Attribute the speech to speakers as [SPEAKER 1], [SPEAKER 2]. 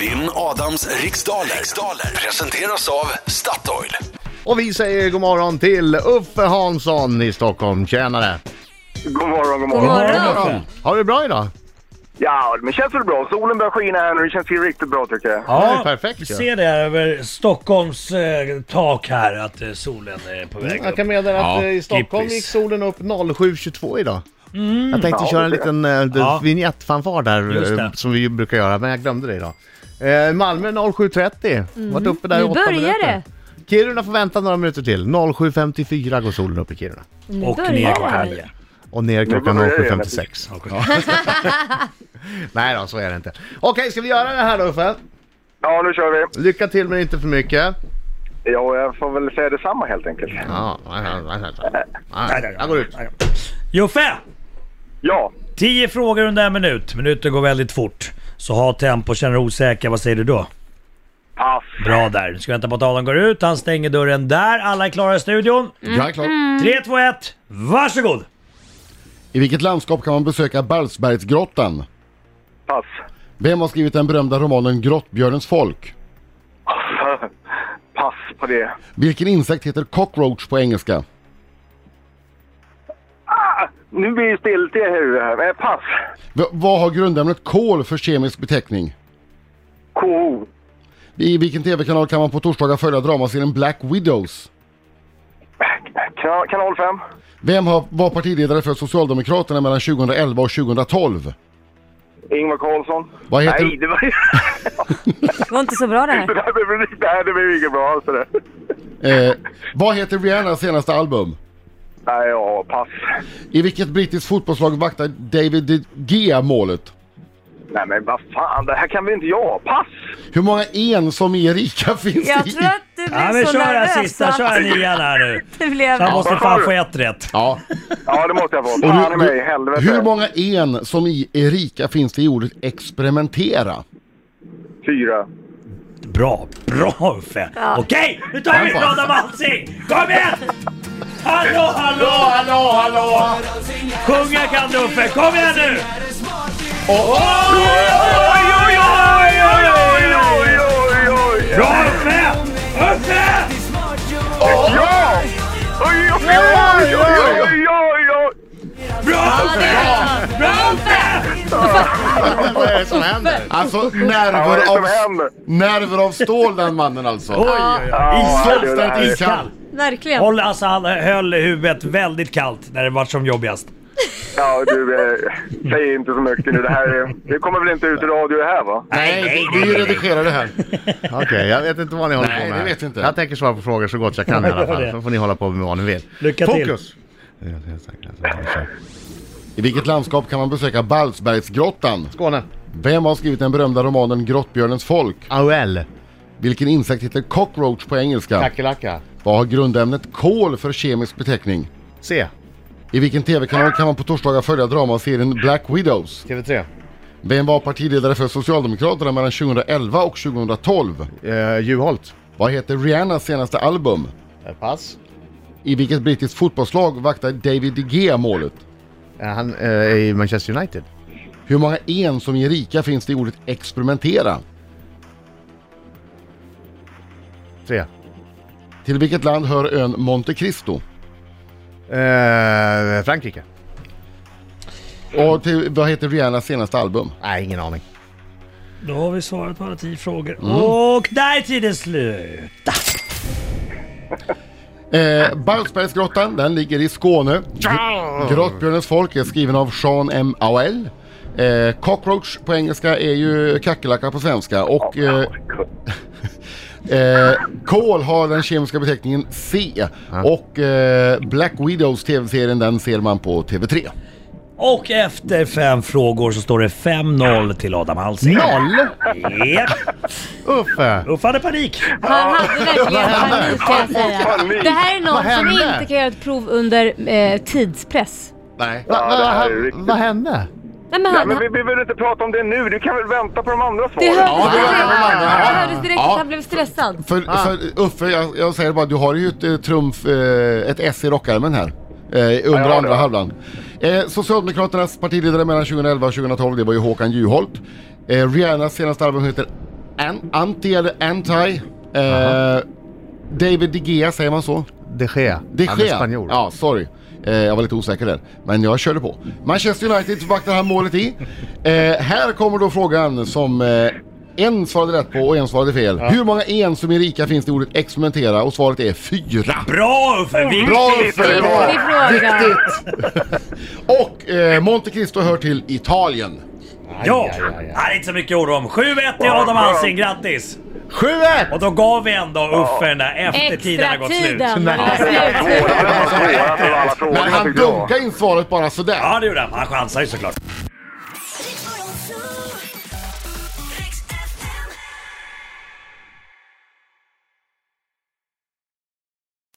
[SPEAKER 1] Vinn Adams riksdaler. riksdaler presenteras av Statoil.
[SPEAKER 2] Och vi säger god morgon till Uffe Hansson i Stockholm. Tjenare!
[SPEAKER 3] God morgon, god
[SPEAKER 4] God
[SPEAKER 3] morgon.
[SPEAKER 4] morgon!
[SPEAKER 2] Har du det bra idag?
[SPEAKER 3] Ja, men känns väl bra. Solen börjar skina här nu. Det känns ju riktigt bra tycker jag.
[SPEAKER 2] Ja, det är perfekt,
[SPEAKER 4] vi
[SPEAKER 2] ja.
[SPEAKER 4] ser det över Stockholms eh, tak här att eh, solen är på väg
[SPEAKER 2] Mm, Jag
[SPEAKER 4] upp.
[SPEAKER 2] kan meddela att
[SPEAKER 5] Ja,
[SPEAKER 2] eh, i Stockholm
[SPEAKER 4] kippis.
[SPEAKER 2] gick solen upp 07.22 idag. jag tänkte köra en liten eh, d-
[SPEAKER 4] Ja.
[SPEAKER 2] vignettfanfar
[SPEAKER 4] Just
[SPEAKER 2] där eh,
[SPEAKER 4] det.
[SPEAKER 2] som vi ju brukar göra, men jag glömde det idag. Eh, Malmö 07.30, varit uppe där i
[SPEAKER 6] Nu
[SPEAKER 2] åtta
[SPEAKER 6] börjar
[SPEAKER 2] minuter.
[SPEAKER 6] det.
[SPEAKER 2] Kiruna får vänta några minuter till. 07.54 går solen upp i Kiruna.
[SPEAKER 6] Nu
[SPEAKER 4] Och
[SPEAKER 6] börjar
[SPEAKER 4] ner
[SPEAKER 6] det.
[SPEAKER 4] klockan nio.
[SPEAKER 2] Och ner klockan
[SPEAKER 3] börjar det
[SPEAKER 2] 07.56. Nej då, så är det inte. Okej, ska vi göra det här då Uffe?
[SPEAKER 3] Ja, nu kör vi.
[SPEAKER 2] Lycka till men inte för mycket.
[SPEAKER 3] Ja, jag får väl säga detsamma helt enkelt.
[SPEAKER 2] Ja, nej, nej, nej, nej. Nej, jag går ut.
[SPEAKER 4] Joffe!
[SPEAKER 3] Ja,
[SPEAKER 4] 10 frågor under en minut. Minuten går väldigt fort. Så ha tempo, känner dig osäker. Vad säger du då?
[SPEAKER 3] pass.
[SPEAKER 4] Bra där. Nu ska vi vänta på att Adam går ut. Han stänger dörren där. Alla är klara i studion.
[SPEAKER 6] Mm.
[SPEAKER 5] Jag är klar.
[SPEAKER 4] 3, 2, 1. Varsågod!
[SPEAKER 5] I vilket landskap kan man besöka Balsbergsgrottan?
[SPEAKER 3] Pass.
[SPEAKER 5] Vem har skrivit den berömda romanen Grottbjörnens folk?
[SPEAKER 3] pass på det.
[SPEAKER 5] Vilken insekt heter cockroach på engelska?
[SPEAKER 3] Nu blir det stilt i huvudet här. Eh, pass.
[SPEAKER 5] V- vad har grundämnet kol för kemisk beteckning?
[SPEAKER 3] KO.
[SPEAKER 5] I vilken tv-kanal kan man på torsdagar följa dramaserien Black Widows?
[SPEAKER 3] Kanal, kanal 5.
[SPEAKER 5] Vem har, var partiledare för Socialdemokraterna mellan 2011 och 2012?
[SPEAKER 3] Ingvar Carlsson.
[SPEAKER 5] Vad heter-
[SPEAKER 3] Nej, det var ju...
[SPEAKER 6] Det var inte så bra det här.
[SPEAKER 3] det här blev- det här blev inget bra alls det där.
[SPEAKER 5] Eh, vad heter Rihannas senaste album?
[SPEAKER 3] Nej, ja, pass.
[SPEAKER 5] I vilket brittiskt fotbollslag vaktar David De Gea målet?
[SPEAKER 3] Nej, men vad fan. Det här kan väl inte jag? Pass!
[SPEAKER 5] Hur många en som är rika finns
[SPEAKER 6] Jag
[SPEAKER 5] det i?
[SPEAKER 6] tror att du blev
[SPEAKER 4] Ja, men
[SPEAKER 6] så
[SPEAKER 4] kör här
[SPEAKER 6] nervös
[SPEAKER 4] sista.
[SPEAKER 6] att
[SPEAKER 4] Kör här nian här nu.
[SPEAKER 6] det blev...
[SPEAKER 4] Så han måste
[SPEAKER 3] vad
[SPEAKER 4] fan
[SPEAKER 3] sa
[SPEAKER 4] få
[SPEAKER 3] du?
[SPEAKER 4] ett rätt.
[SPEAKER 5] Ja.
[SPEAKER 3] Ja, det måste jag få.
[SPEAKER 5] Och
[SPEAKER 3] Fan i
[SPEAKER 5] hur,
[SPEAKER 3] mig, helvete.
[SPEAKER 5] hur många en som i Erika finns det i ordet experimentera?
[SPEAKER 3] Fyra.
[SPEAKER 4] Bra, bra Uffe! Okej, nu tar vi Adam Alsing! Kom igen! Hallå, hallå, hallå, hallå! Sjunga kan du Uffe, kom igen nu! Oj, oj, oj, oj, oj, oj!
[SPEAKER 3] Oj, oj, oj!
[SPEAKER 4] Bra Uffe! Uffe!
[SPEAKER 3] Ja! Oj, oj, oj, oj, oj, oj, oj!
[SPEAKER 4] Bra
[SPEAKER 6] Ja, det
[SPEAKER 4] Uffe!
[SPEAKER 6] är bra.
[SPEAKER 4] Bra Uffe!
[SPEAKER 2] Vad är det som händer?
[SPEAKER 5] Alltså
[SPEAKER 3] Vad är det
[SPEAKER 5] nerver
[SPEAKER 3] som
[SPEAKER 5] av,
[SPEAKER 3] händer?
[SPEAKER 5] nerver av stål den mannen alltså.
[SPEAKER 4] Oj, oj, oj.
[SPEAKER 3] Ja, det
[SPEAKER 4] Iskall,
[SPEAKER 3] där
[SPEAKER 5] är-
[SPEAKER 4] iskall.
[SPEAKER 6] Verkligen.
[SPEAKER 4] Håll, alltså, han höll huvudet väldigt kallt när det var som jobbigast.
[SPEAKER 3] Ja, du, eh, säg inte så mycket nu. Det här är- det kommer väl inte ut i radio det här, va?
[SPEAKER 5] Nej, vi vi redigerar det här.
[SPEAKER 2] Okej, jag vet inte vad ni håller
[SPEAKER 5] Nej,
[SPEAKER 2] på med.
[SPEAKER 5] det
[SPEAKER 2] här.
[SPEAKER 5] vet vi inte.
[SPEAKER 2] Jag tänker svara på frågor så gott jag kan i alla
[SPEAKER 4] Gör
[SPEAKER 2] fall.
[SPEAKER 4] det.
[SPEAKER 2] Så får ni hålla på med vad ni vill.
[SPEAKER 4] Lycka till.
[SPEAKER 2] Fokus!
[SPEAKER 5] I vilket landskap kan man besöka Balsbergsgrottan?
[SPEAKER 2] Skåne.
[SPEAKER 5] Vem har skrivit den berömda romanen Grottbjörnens folk?
[SPEAKER 2] AOL.
[SPEAKER 5] Vilken insekt heter cockroach på engelska?
[SPEAKER 2] Kackerlacka.
[SPEAKER 5] Vad har grundämnet kol för kemisk beteckning?
[SPEAKER 2] C.
[SPEAKER 5] I vilken tv-kanal kan man på torsdagar följa dramaserien Black Widows?
[SPEAKER 2] TV3.
[SPEAKER 5] Vem var partiledare för Socialdemokraterna mellan 2011 och 2012?
[SPEAKER 2] Eh, Juholt.
[SPEAKER 5] Vad heter Rihannas senaste album?
[SPEAKER 2] Eh, Pass.
[SPEAKER 5] I vilket brittiskt fotbollslag vaktar David de Gea målet?
[SPEAKER 2] Eh, han eh, är i Manchester United.
[SPEAKER 5] Hur många en som ger rika finns det i ordet experimentera?
[SPEAKER 2] Tre.
[SPEAKER 5] Till vilket land hör ön Monte Cristo?
[SPEAKER 2] Eh, Frankrike.
[SPEAKER 5] Och till, vad heter Rihannas senaste album?
[SPEAKER 2] Nej, ingen aning.
[SPEAKER 4] Då har vi svarat på alla tio frågor. Mm. Och där är tiden slut!
[SPEAKER 5] Eh, Balsbergsgrottan, den ligger i Skåne. Gr- Grottbjörnens folk är skriven av Sean M. Auel. Eh, cockroach på engelska är ju kackerlacka på svenska och eh, eh, kol har den kemiska beteckningen C och eh, Black Widows tv-serien den ser man på TV3.
[SPEAKER 4] Och efter fem frågor så står det 5-0 till Adam Alsing.
[SPEAKER 2] Noll!
[SPEAKER 4] Japp!
[SPEAKER 2] Uffe!
[SPEAKER 4] Uffe hade panik.
[SPEAKER 6] Han hade verkligen panik kan jag säga.
[SPEAKER 3] Panik.
[SPEAKER 6] Det här är
[SPEAKER 2] Vad
[SPEAKER 6] någon som
[SPEAKER 2] hände?
[SPEAKER 6] inte kan göra ett prov under eh, tidspress.
[SPEAKER 5] Nej.
[SPEAKER 2] Va, va,
[SPEAKER 3] det
[SPEAKER 2] va,
[SPEAKER 3] här är riktigt-
[SPEAKER 2] vad hände?
[SPEAKER 6] Nej men
[SPEAKER 3] Nej,
[SPEAKER 6] han...
[SPEAKER 3] men
[SPEAKER 6] han-
[SPEAKER 3] vi vi behöver inte prata om det nu. Du kan väl vänta på de andra
[SPEAKER 6] Det
[SPEAKER 3] svaren?
[SPEAKER 6] hördes
[SPEAKER 5] det var
[SPEAKER 6] direkt-
[SPEAKER 5] det andra.
[SPEAKER 6] det hördes direkt
[SPEAKER 5] Ja.
[SPEAKER 6] att han blev stressad.
[SPEAKER 5] För, för Uffe, jag, jag säger bara, du har ju ett eh, trumf, eh, ett S i rockärmen här. Eh,
[SPEAKER 3] jag
[SPEAKER 5] under
[SPEAKER 3] har
[SPEAKER 5] andra
[SPEAKER 3] det.
[SPEAKER 5] halvan. Eh, Socialdemokraternas partiledare mellan 2011 och 2012, det var ju Håkan Juholt. Eh, Rihannas senaste album heter an, anti eller anti. Eh, David De Gea, säger man så?
[SPEAKER 2] De Gea.
[SPEAKER 5] De
[SPEAKER 2] Han är
[SPEAKER 5] Gea.
[SPEAKER 2] spanjor.
[SPEAKER 5] Ja, sorry. Eh, jag var lite osäker där, men jag körde på. Manchester United vaktar han målet i. Eh, här kommer då frågan som eh, en svarade rätt på och en svarade fel. Hur många en som i rika finns det i ordet experimentera? Och svaret är fyra.
[SPEAKER 4] Bra Uffe! Viktigt!
[SPEAKER 5] Bra Uffe! Bra!
[SPEAKER 6] Viktig fråga.
[SPEAKER 5] Och eh, Monte Cristo hör till Italien.
[SPEAKER 4] Ja! Det är inte så mycket att oroa om. 7-1 till Adam Alsing, grattis!
[SPEAKER 2] 7-1!
[SPEAKER 4] Och då gav vi ändå Uffe den där eftertiden har gått slut.
[SPEAKER 6] Extratiden! när det var slut.
[SPEAKER 3] Svårast av alla frågor
[SPEAKER 5] Men han
[SPEAKER 3] tycker jag.
[SPEAKER 5] dunkade in svaret bara sådär.
[SPEAKER 4] Ja det gjorde han. Han chansade ju såklart.